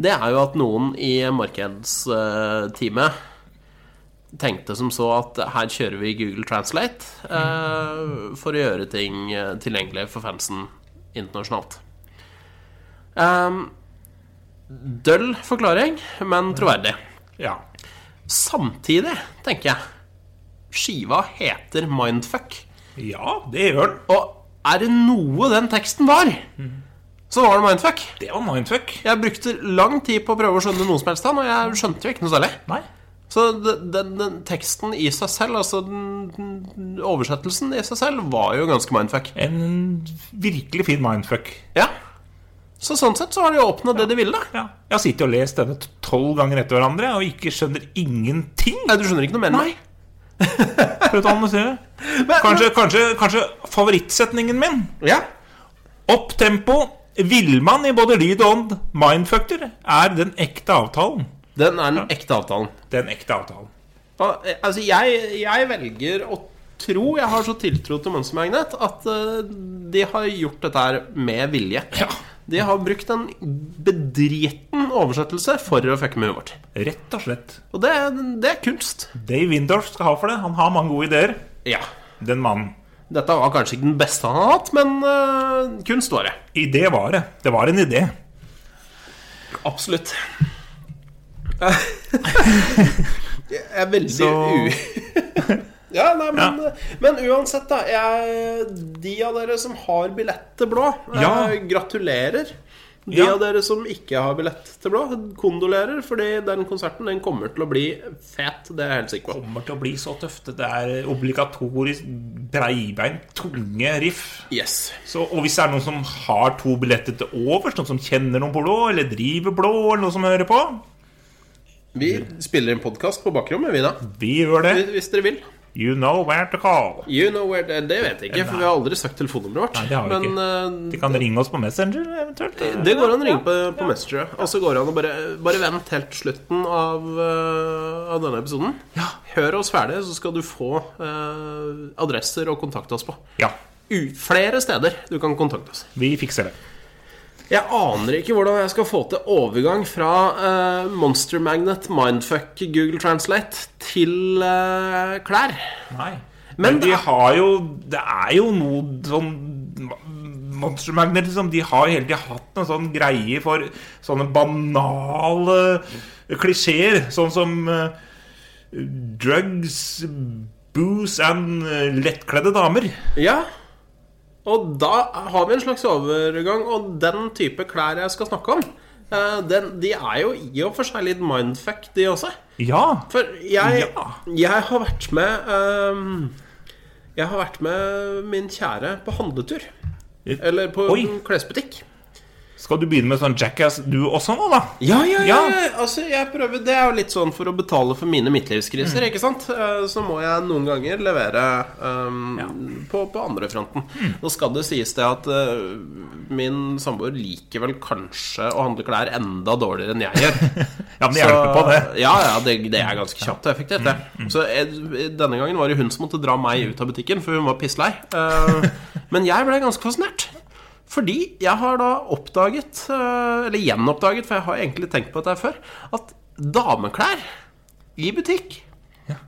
det er jo at noen i markedsteamet tenkte som så at her kjører vi Google Translate eh, for å gjøre ting eh, tilgjengelig for fansen internasjonalt. Ehm, døll forklaring, men troverdig.
Ja.
Samtidig, tenker jeg Skiva heter Mindfuck
ja, det gjør den.
Og Er det noe den teksten var, så var det mindfuck.
Det var mindfuck.
Jeg brukte lang tid på å prøve å skjønne noe som helst av den, og jeg skjønte jo ikke noe særlig.
Nei.
Så den, den, den teksten i seg selv, altså den, den oversettelsen i seg selv, var jo ganske mindfuck.
En virkelig fin mindfuck.
Ja. Så sånn sett så har de jo oppnådd det de ville. da.
Ja. Jeg har sittet og lest denne tolv ganger etter hverandre og ikke skjønner ingenting.
Nei, Du skjønner ikke noe mer enn
Nei. For å *laughs* analysere. Kanskje, kanskje, kanskje favorittsetningen min.
Ja.
Opptempo, villmann i både lyd og ånd, mindfucker, er den ekte avtalen.
Den er den ekte avtalen.
Den ekte avtalen.
Og, eh, altså, jeg, jeg velger å tro Jeg har så tiltro til Monster Magnet at eh, de har gjort dette her med vilje. De har brukt en bedriten oversettelse for å fucke med huet vårt.
Rett og slett.
Og det, det er kunst.
Dave Windorf skal ha for det. Han har mange gode ideer.
Ja.
Den mannen.
Dette var kanskje ikke den beste han har hatt, men eh, kunst var det.
Idé var det. Det var en idé.
Absolutt. *laughs* Jeg er veldig
Så-
u... *laughs* ja, nei, men, men uansett, da. Jeg, de av dere som har billett til blå, eh,
Ja.
gratulerer. De
Ja.
av dere som ikke har billett til blå, kondolerer. Fordi den konserten den kommer til å bli fet. Det er jeg helt sikker på.
kommer til å bli så tøft. Det er obligatorisk breibeint, tunge riff.
Yes.
Så, og hvis det er noen som har to billetter til overs, noen som kjenner noen på blå, eller driver blå, eller noen som hører på,
Vi spiller en podkast på bakrommet, vi, da.
vi gjør det.
Hvis dere vil.
You know where to call.
You know where Det, det vet jeg ikke, for vi har aldri sagt telefonnummeret vårt.
Nei, det har vi
men eh,
De kan ringe oss på Messenger, eventuelt.
Det går an å ringe på, på Messenger, ja. og så går det an å bare, bare vente helt til slutten av, eh, av denne episoden. Hør oss ferdig, så skal du få eh, adresser å kontakte oss på.
Ja,
U flere steder du kan kontakte oss.
vi fikser det.
Jeg aner ikke hvordan jeg skal få til overgang fra eh, Monster Magnet, Mindfuck, Google Translate til eh, klær.
Nei.
Men
Men, de
det-
har jo Det er jo noe sånn Monster Magnet, liksom. De har jo hele tida hatt en sånn greie for sånne banale klisjeer. Sånn som eh, drugs, booze and eh, lettkledde damer.
Ja. Og da har vi en slags overgang, og den type klær jeg skal snakke om, eh, den, de er jo i og for seg litt mindfuck, de også.
Ja.
For jeg,
Ja.
jeg har vært med ehm, Jeg har vært med min kjære på handletur. Eller på
Oi.
en klesbutikk.
Skal du begynne med sånn jackass du også nå, da?
Ja, ja, ja,
Ja.
ja. Altså, jeg prøver Det er jo litt sånn for å betale for mine midtlivskriser, ikke sant? Eh, Så må jeg noen ganger levere ehm, på, på andre fronten. Nå skal det sies det at eh, min samboer liker vel kanskje å handle klær enda dårligere enn jeg gjør. *laughs*
Ja, men det hjelper på, det. Mm,
Ja, ja, det, det er ganske kjapt og effektivt, det. Så jeg, denne gangen var det hun som måtte dra meg ut av butikken, for hun var pisslei. Eh, men jeg ble ganske fascinert. Fordi jeg har da oppdaget, eh, eller gjenoppdaget, for jeg har egentlig tenkt på dette her før, at dameklær i butikk,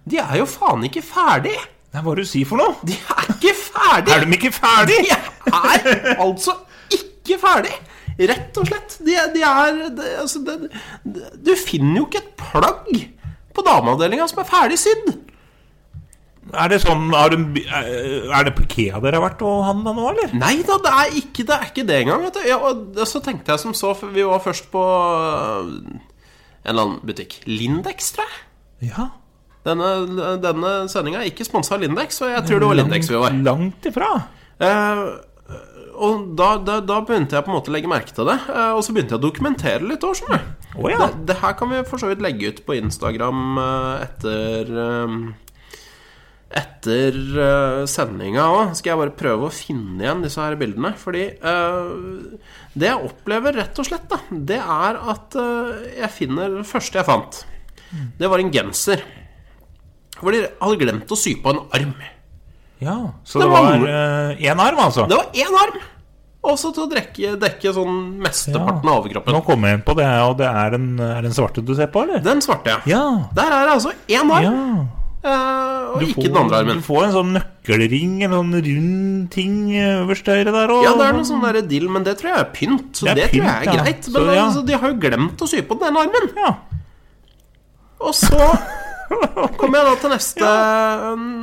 de er jo faen ikke ferdig!
Nei, hva er det du sier for noe?
De er ikke ferdig!
Er de ikke ferdig?
De er altså ikke ferdig Rett og slett De, de er de, altså, det- det- Du finner jo ikke et plagg På dameavdelingen som er ferdig sydd
Er det sånn har du, Er det på Ikea dere har vært og handla nå, eller?
Nei da, det er ikke det, er ikke det engang vet du. Ja, og det- Så tenkte jeg som så for Vi var først på øh, En eller annen butikk Lindex, tror jeg
Ja.
denne, denne sendingen er ikke sponset av Lindex Og jeg tror det var Lindex vi var
Langt ifra.
Eh, og da, da, da begynte jeg på en måte å legge merke til det. eh, og så begynte jeg å dokumentere litt òg, skjønner du.
Å, ja.
det, det her kan vi for så vidt legge ut på Instagram eh, etter eh, etter eh, sendinga òg skal jeg bare prøve å finne igjen disse her bildene. Fordi eh, det jeg opplever, rett og slett, da, det er at eh, jeg finner Det første jeg fant,
Mm.
det var en genser. Hvor de hadde glemt å sy på en arm.
Ja, Så
Det
det
var
var
noe.
én arm, altså?
Det var én arm! Også til å dekke, dekke sånn mesteparten av overkroppen.
Nå kommer jeg inn på det, og det er den, er den svarte du ser på, eller?
Den svarte, ja.
Ja.
Der er det altså én
ja.
arm, eh, og ikke den andre armen.
Du får en sånn nøkkelring, en sånn rund ting øverst til høyre der. Og,
Ja, det er noe sånn der deal, men det tror jeg er pynt. Så
Det
det,
er
tror jeg
pynt,
er
ja.
greit. Men eh,
Så, ja.
altså, de har jo glemt å sy på den ene armen.
*laughs* Ja.
Og så Kom igjen da til neste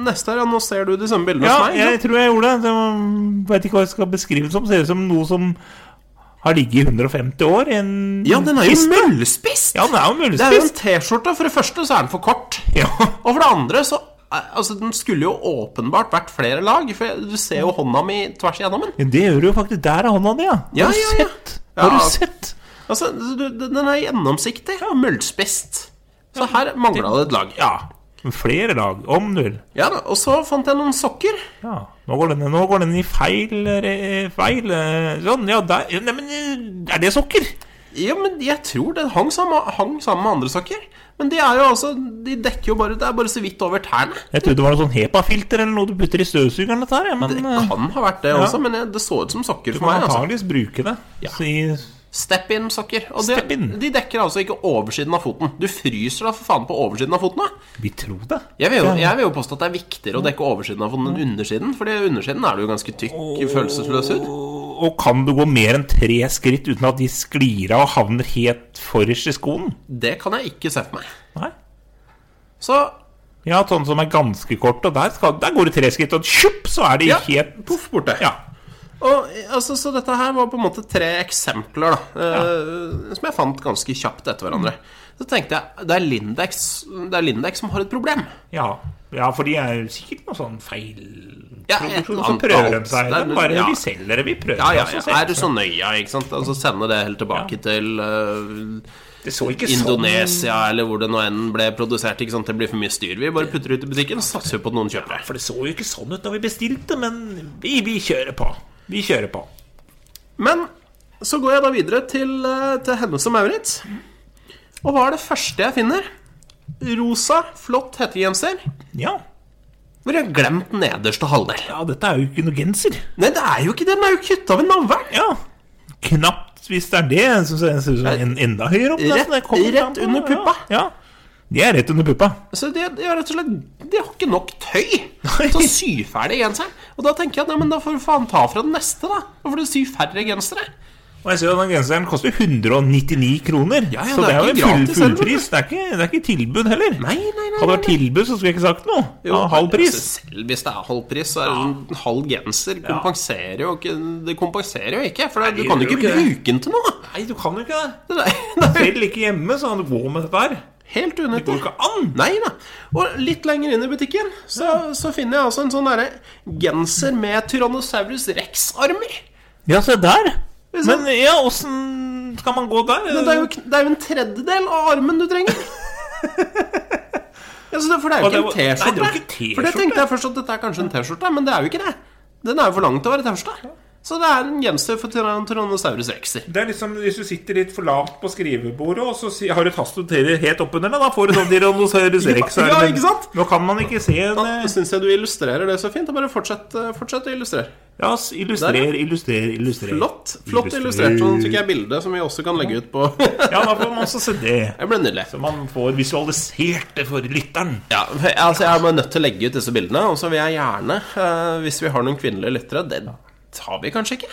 Neste her, ja, nå ser du de samme bildene
Ja,
som meg.
jeg
ikke sant?
tror jeg gjorde det. Jeg vet ikke hva jeg skal beskrive det som. Ser ut som noe som har ligget i 150 år. i En
Ja, den er jo
kiste.
møllspist!
Ja, den er jo
Det er jo en
møllspist.
T-skjorte. For det første så er den for kort.
Ja.
Og for det andre så eh, Altså, den skulle jo åpenbart vært flere lag, for jeg- du ser jo
Mm.
hånda mi tvers igjennom den.
Det gjør du jo faktisk. Der er hånda di, ja. Har
Ja,
du
ja, ja.
sett? Har
Ja.
du sett?
Altså, du, du- den er gjennomsiktig og møllspist. Så her mangla det et lag. Ja.
Flere lag, om du vil.
ja da, og så fant jeg noen sokker.
Ja, nå går den, nå går den i feil eh, Feil eh, Sånn, ja, der ja, Neimen, eh, er det sokker?
Ja, men jeg tror det hang sammen, hang sammen med andre sokker. Men de er jo altså De dekker jo bare Det er bare så vidt over tærne.
Jeg trodde det var noe sånn HEPA-filter eller noe du putter i støvsugeren, dette her. ja, Men
Det
eh,
kan ha vært det også, men jeg, det så ut som sokker
du
for
må
meg. Altså.
antageligvis bruke det. Så i,
Step in-sokker. Og det,
Step in.
de dekker altså ikke oversiden av foten. Du fryser da for faen på oversiden av foten. da
vi tror det.
jeg vil, jo, jeg vil jo påstå at det er viktigere å dekke oversiden av foten enn undersiden. Fordi undersiden er det jo ganske tykk, følelsesløs hud.
Og, og kan du gå mer enn tre skritt uten at de sklir av og havner helt forrest i skoen?
Det kan jeg ikke se for meg.
Nei.
Så
Jeg har hatt sånne som er ganske korte, og der, skal, der går det tre skritt, og tjupp, så er de
Ja.
helt
poff borte.
Ja.
Og, altså, så dette her var på en måte tre eksempler da, eh, som jeg fant ganske kjapt etter hverandre. Så tenkte jeg det er Lindex, det er Lindex som har et problem.
Ja, ja for de er jo sikkert noe sånn feil
Ja, et
produksjon. Så
annet-
prøver de seg.
det er-
De bare
ja.
vi selger det, vi prøver altså
Ja, ja,
oss,
ja.
og selger
Er du så nøya, ikke sant? Altså sende det helt tilbake til eh,
Det så ikke sånn
Indonesia eller hvor det nå enn ble produsert. Ikke sant? Det blir for mye styr. Vi bare putter det ut i butikken og satser på at noen kjøper det.
For det så jo ikke sånn ut da vi bestilte, men vi, vi kjører på. Vi kjører på.
Men så går jeg da videre til, eh, til Hennes og Maurits. Og hva er det første jeg finner? Rosa, flott hettegenser.
Ja.
Hvor jeg har glemt den nederste halvdel.
ja, dette er jo ikke noe genser.
Nei, det er jo ikke det. Den er jo kutta ved navlen.
Ja. Knapt hvis det er det. Jeg synes det ser ut som en enda høyere opp. nesten. Det kommer
Rett- rett
fram på-
under puppa.
Ja. ja. De er rett under puppa.
Så de, de, har rett og slett, de har ikke nok tøy til å sy ferdig genseren. Og da tenker jeg at nei, men da får du faen ta fra den neste, da. Da får du sy færre gensere.
Og jeg ser at den genseren koster 199 kroner.
Ja, ja,
så
det
det
er
er jo
ikke
full,
gratis heller,
fullpris. Det er, ikke, det er ikke tilbud heller.
Nei, nei, nei,
Hadde det
nei,
vært
nei.
tilbud, så skulle jeg ikke sagt noe. ja,
Jo,
halv pris.
altså, Selv hvis det er halv pris, så er det en halv genser kompenserer jo ikke Det kompenserer jo ikke, for det, du
det
kan jo ikke
gjør jo ikke det.
bruke den til noe.
Nei, du kan jo ikke det.
Det er- *laughs* det er
Selv ikke hjemme, så han går med dette her.
helt
Det går
unyttig.
jo ikke an.
Nei da. Og litt lenger inn i butikken så, så finner jeg altså en sånn derre genser med Tyrannosaurus rex-armer.
Ja, se der.
Hvis
Men ja, åssen skal man gå der?
Men det er, jo, kn- det er jo en tredjedel av armen du
*laughs*
trenger. Ja, så det, for det er jo
Og det
ikke
var-
en
nei, det var
T-skjorte.
ikke T-skjorte.
For det tenkte jeg først at dette er kanskje en T-skjorte, men det er jo ikke det. Den er jo for lang til å være T-skjorte. Så det er en genser for tyrann- Tyrannosaurus rexer.
Det er liksom Hvis du sitter litt for lavt på skrivebordet, og så si- har du tastaturer helt oppunder deg, da får du sånn *laughs* Tyrannosaurus rex.
Ja, ja, ikke sant?
Nå kan man ikke se en eh,
Da syns jeg du illustrerer det så fint. og Bare fortsett, eh, fortsett å illustrere.
Ja, s- illustrer, illustrer, illustrer.
Flott flott illustrert. Sånn fikk jeg bilde som vi også kan legge ut på
*laughs*
Det
Ja, da får man også se det.
ble nydelig.
Så man får visualisert det for lytteren.
Ja, altså Jeg er bare nødt til å legge ut disse bildene. Og så vil jeg gjerne, eh, hvis vi har noen kvinnelige lyttere Det tar vi kanskje ikke?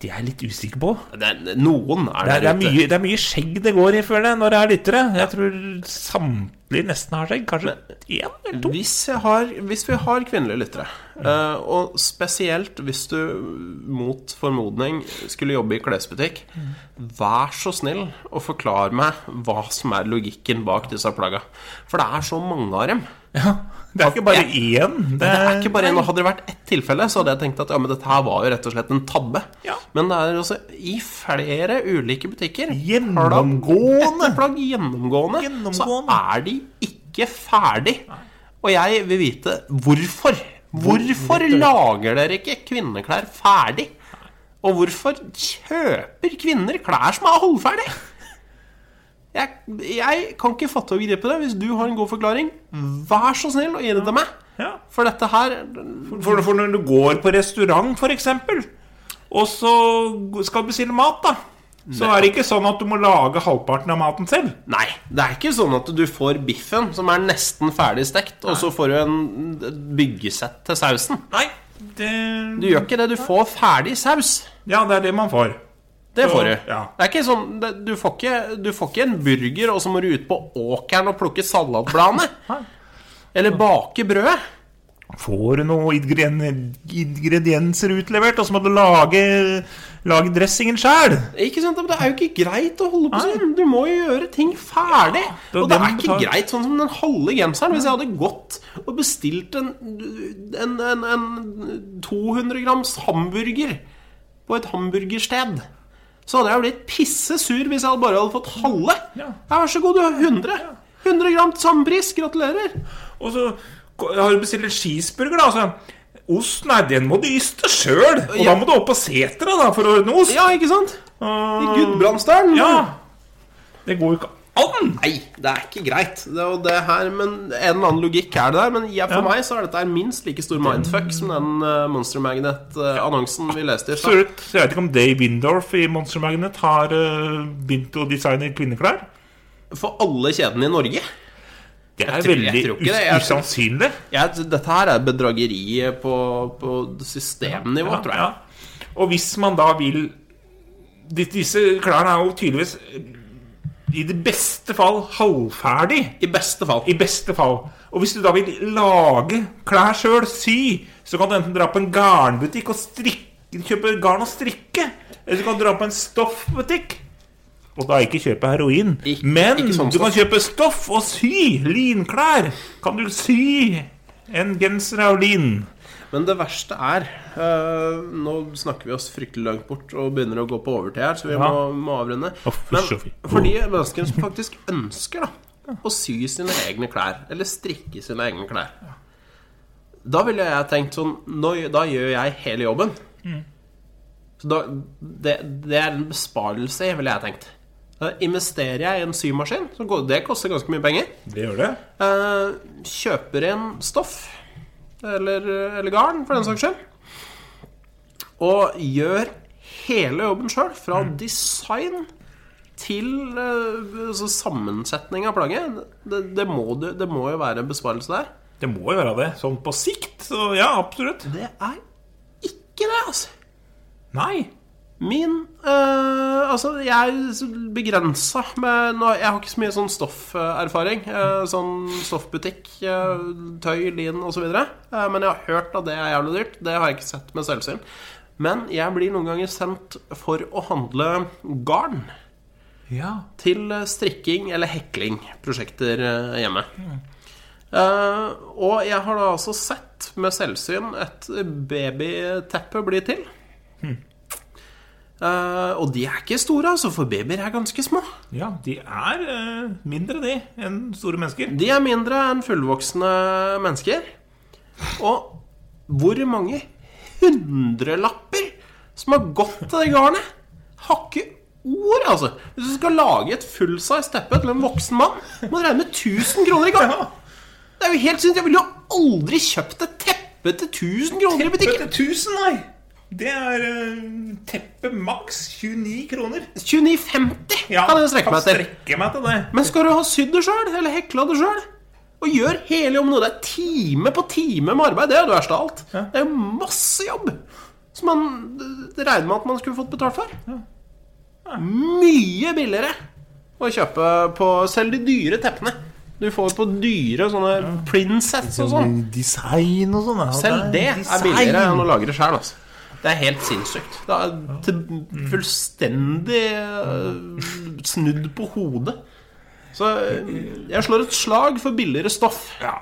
Det er jeg litt usikker på.
Det er, noen er
Det er, det,
der
er
ute.
mye, det er mye skjegg det går i, føler jeg, når det er lyttere. Jeg tror samtlige nesten har skjegg. Kanskje én eller to.
Hvis, jeg har, hvis vi har kvinnelige lyttere, eh, og spesielt hvis du mot formodning skulle jobbe i klesbutikk, vær så snill å forklare meg hva som er logikken bak disse plagga. For det er så mange av dem.
Det er ikke bare én. Det
Det er
er,
ikke bare en, og Hadde det vært ett tilfelle, så hadde jeg tenkt at ja, men dette her var jo rett og slett en tabbe.
Ja.
Men det er også i flere ulike butikker
Gjennomgående.
Etter plagg gjennomgående,
Gjennomgående.
Så er de ikke ferdig. Og jeg vil vite hvorfor. Hvorfor lager dere ikke kvinneklær ferdig? Og hvorfor kjøper kvinner klær som er halvferdig? Jeg, jeg kan ikke fatte og gripe det. Hvis du har en god forklaring, vær så snill å gi det til meg.
Ja.
For dette her
For, for når du går på restaurant, for eksempel, og så skal du bestille mat, da, så er det ikke sånn at du må lage halvparten av maten selv.
Nei. Det er ikke sånn at du får biffen, som er nesten ferdig stekt, og så får du en et byggesett til sausen.
Nei,
Du
det
gjør ikke det. Du får ferdig saus.
Ja, det er det man får.
Det får du.
Så, ja.
Det er ikke sånn, det, du, får ikke, du får ikke en burger, og så må du ut på åkeren og plukke salatbladene. Eller bake brødet.
Får du noen ingren- ingredienser utlevert, og så må du lage, lage dressingen sjæl.
Ikke sant? Men det er jo ikke greit å holde på sånn. Du må jo gjøre ting ferdig.
det er
og det
det
er
man
ikke
betaler.
greit sånn som den halve genseren. Hvis jeg hadde gått og bestilt en, en, en, en 200 grams hamburger på et hamburgersted, så hadde jeg blitt pissesur hvis jeg hadde bare hadde fått halve.
Ja.
Ja, vær så god, du har 100. 100 gram til samme pris. Gratulerer.
Og så ko- har du bestilt en cheeseburger, da. Så, ost, nei, den må du yste sjøl. Og
Ja.
da må du opp på setra da, for å ordne ost.
Ja, ikke sant? I
Ah,
Gudbrandsdalen.
ja. Det går jo ikke an.
Nei, det er ikke greit. Det er jo det her, men En eller annen logikk er det der. Men jeg, for meg så er dette her minst like stor mindfuck som den eh, Monster Magnet-annonsen vi leste i
Så
stad.
jeg vet- jeg vet ikke om Dave Windorf i Monster Magnet har eh, begynt å designe kvinneklær.
For alle kjedene i Norge.
Det er
Jeg tror- jeg
veldig
tror ikke
us-
det. Jeg-
usannsynlig.
Jeg, dette her er bedrageriet på, på systemnivå, tror jeg.
Ja. Og hvis man da vil di- Disse klærne er jo tydeligvis eh, i det beste fall halvferdig.
I beste fall.
I beste fall. Og hvis du da vil lage klær sjøl, sy, så kan du enten dra på en garnbutikk og strikke, kjøpe garn og strikke. Eller så kan du dra på en stoffbutikk. Og da ikke kjøpe heroin.
Ikke-
Men
ikke sånn
du kan
stoff.
kjøpe stoff og sy. Linklær. Kan du sy en genser av lin?
Men det verste er eh, Nå snakker vi oss fryktelig langt bort og begynner å gå på overtid her, så vi må, må avrunde.
Å, fy,
Men
så fint.
for de menneskene som
*laughs*
faktisk ønsker da å sy sine egne klær, eller strikke sine egne klær Da ville jeg tenkt sånn nå, Da gjør jeg hele jobben.
Mm.
Så da, det, det er en besparelse, ville jeg tenkt. Da investerer jeg i en symaskin. Så går, det koster ganske mye penger.
Det gjør det.
Eh, kjøper inn stoff, eller, eller garn for den saks skyld, og gjør hele jobben sjøl, fra design til eh, altså sammensetning av plagget. Det, det, må du, det må jo være en besparelse der.
Det må jo være det. Sånn på sikt. Så ja, absolutt.
Det er ikke det, altså.
Nei.
Min eh, Altså, jeg er begrensa med nå, Jeg har ikke så mye sånn stofferfaring. eh, sånn stoffbutikk, eh, tøy, lin osv. Uh, men jeg har hørt at det er jævlig dyrt. Det har jeg ikke sett med selvsyn. Men jeg blir noen ganger sendt for å handle garn
Ja.
til eh, strikking eller hekling-prosjekter eh, hjemme. Eh, og jeg har da altså sett med selvsyn et babyteppe bli til. Eh, og de er ikke store, altså, for babyer er ganske små.
ja de er eh, mindre, de, enn store mennesker.
De er mindre enn fullvoksne mennesker. Og hvor mange hundrelapper som har gått til det garnet? Har ikke ord, altså. Hvis du skal lage et fullsize teppe til en voksen mann, må du regne med 1000 kroner i gang. Det er jo helt synd. Jeg ville jo aldri kjøpt et teppe til 1000 kroner i butikken.
1000, nei! Det er eh, teppe maks 29 kroner.
29,50 kan jeg strekke meg etter.
strekke meg til det.
Men skal du ha sydd det sjøl, eller hekla det sjøl, og gjør hele jobben noe Det er time på time med arbeid. Det er jo det verste av alt. Det er jo masse jobb som man eh, regner med at man skulle fått betalt for. Mye billigere å kjøpe på selv de dyre teppene. Du får på dyre sånne prinsess og sånn.
Mm, Design og sånn.
Selv det er billigere enn å lage det sjøl. Altså. Det er helt sinnssykt. Det er
Mm.
til fullstendig eh, snudd på hodet. Så eh, jeg slår et slag for billigere stoff.
Ja.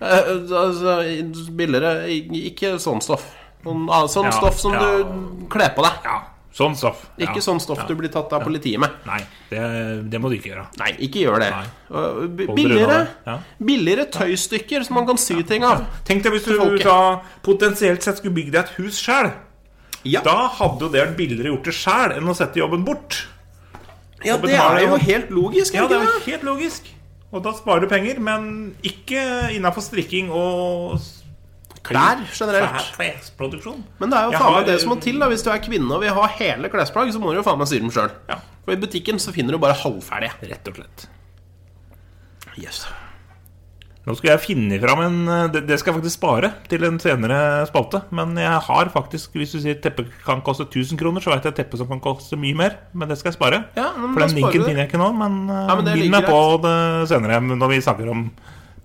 Eh, eh, Altså billigere i- Ikke sånn stoff. Sånn, ah, sånn
Ja,
stoff som
ja.
du kler på deg.
ja. Sånn stoff. Ja.
Ikke sånn stoff du blir tatt av politiet med.
Nei, det, det må du ikke gjøre.
Nei, ikke gjør det.
Nei.
Og eh, bi-
Hold dere unna
Billigere,
det. Ja.
billigere tøystykker som man kan sy ting av.
Tenk deg hvis du
folket.
da potensielt sett skulle bygge deg et hus sjøl.
Ja.
Da hadde jo det vært billigere gjort det sjæl enn å sette jobben bort.
Ja,
Og
det
betaler
er jo
jo-
helt logisk.
Ja,
ikke
det er jo helt logisk. Og da sparer du penger, men ikke innafor strikking og s-
Klær generelt.
klesproduksjon.
Men det er jo
Jeg
faen
har-
meg det som må til da hvis du er kvinne og vil ha hele klesplagg, så må du jo faen meg sy dem sjøl.
Ja.
For i butikken så finner du bare halvferdige.
Rett og slett.
Yes.
Nå skulle jeg finne fram en eh, Det det skal jeg faktisk spare til en senere spalte. Men jeg har faktisk Hvis du sier teppe kan koste 1000 kroner, så vet jeg teppe som kan koste mye mer. Men det skal jeg spare.
Ja, men
For
da
den
sparer
linken
du det.
finner jeg ikke nå, men, eh,
Ja, men det er
minn
like
meg på det senere når vi snakker om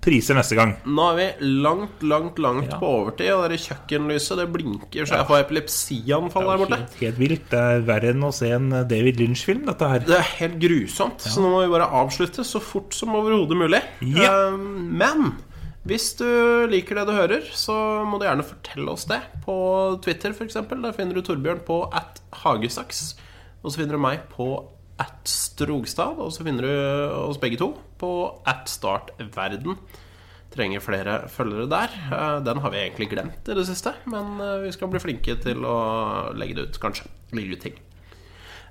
priser neste gang.
Nå er vi langt, langt, langt
Ja.
på overtid, og det der kjøkkenlyset det blinker så jeg får epilepsianfall der borte.
Helt, helt vilt. Det er verre enn å se en eh, David Lynch-film, dette her.
Det er helt grusomt, så nå må vi bare avslutte så fort som overhodet mulig.
Ja.
Eh, Men hvis du liker det du hører, så må du gjerne fortelle oss det på Twitter, f.eks. Der finner du Torbjørn på at hagesaks. Og så finner du meg på at Strogstad. Og så finner du oss begge to på at startverden. Trenger flere følgere der. Eh, Den har vi egentlig glemt i det siste, men eh, vi skal bli flinke til å legge det ut, kanskje. Legge ut ting.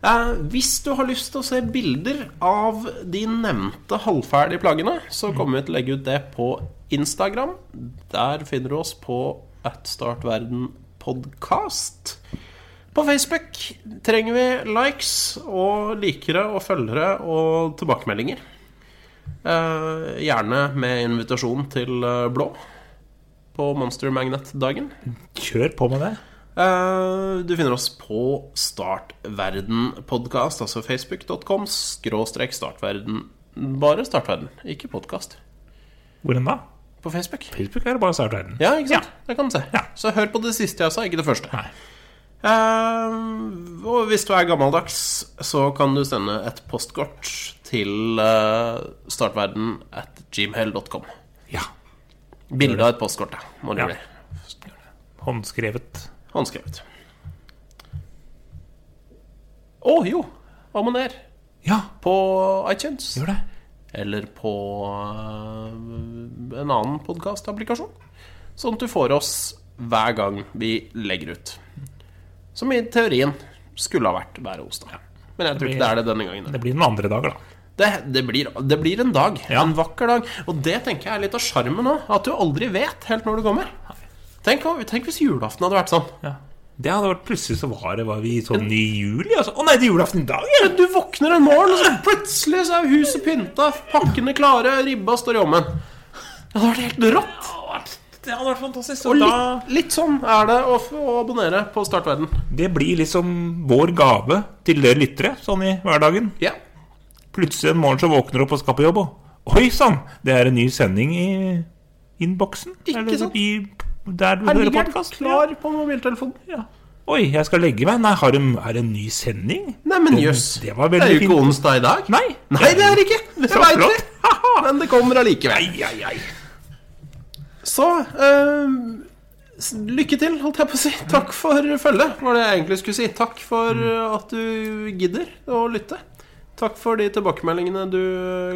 Eh, hvis du har lyst til å se bilder av de nevnte halvferdige plaggene, så kommer vi til å legge ut det på Instagram. Der finner du oss på atstartverdenpodkast. På Facebook trenger vi likes og likere og følgere og tilbakemeldinger. Eh, gjerne med invitasjon til eh, blå på Monster Magnet-dagen.
Kjør på med det.
Eh, Du finner oss på Startverden-podkast, altså facebook.com skråstrek startverden. Bare Startverden, ikke podkast.
Hvor enn da?
På Facebook.
Facebook er det bare startverden.
Ja, ikke sant? Det kan du se.
Ja.
Så hør på det siste jeg sa, ikke det første.
Nei.
Eh, og hvis du er gammeldags, så kan du sende et postkort til eh, startverden at gmail.com.
Ja.
Bilde av et postkort, da, må det
Ja.
bli.
Håndskrevet.
Håndskrevet. Å jo! Abonner
Ja,
på iTunes.
gjør det.
eller på eh, en annen podkastapplikasjon. Sånn at du får oss hver gang vi legger ut. Som i teorien skulle ha vært hver onsdag. Men jeg tror ikke det er det denne gangen.
Det blir noen andre dager, da.
Det, det, blir, det blir en dag.
Ja.
En vakker dag. Og det tenker jeg er litt av sjarmen nå. At du aldri vet helt når du kommer. Tenk, om- tenk hvis julaften hadde vært sånn.
Ja. Det hadde vært plutselig så var det var vi sånn i juli, altså. Å nei, det er julaften i dag, ja!
Du våkner en morgen, og så plutselig så er huset pynta, pakkene klare, ribba står i ommen. Det hadde vært helt rått.
Det hadde vært fantastisk.
Og
Og da,
litt, litt sånn er det å, f- å abonnere på Startverden.
det blir liksom vår gave til dere lyttere, sånn i hverdagen.
Ja.
Plutselig en morgen så våkner du opp og skal på jobb, og oi sann, det er en ny sending i innboksen.
Ikke
eller
sant?
I, der du
Her
hører
ligger den
podkast.
klar på mobiltelefonen.
Ja. Oi, jeg skal legge meg. Nei, har de, er det en ny sending?
Nei, men jøss.
det var
Det er
veldig
jo ikke
fint.
onsdag i dag.
Nei.
Nei, det er det ikke. Det *laughs*
Så
veit vi.
flott. Haha.
Men det kommer allikevel.
Ai, ai, ai.
Så eh, s- lykke til, holdt jeg på å si. Takk for følget, var det jeg egentlig skulle si. Takk for
Mm.
eh, at du gidder å lytte. Takk for de tilbakemeldingene du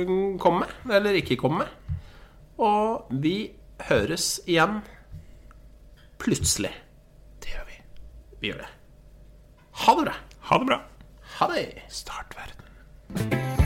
eh, kom med, eller ikke kom med. Og vi høres igjen plutselig. Det gjør vi. Vi gjør det. Ha det bra.
Ha det bra.
Ha det.
Start verden.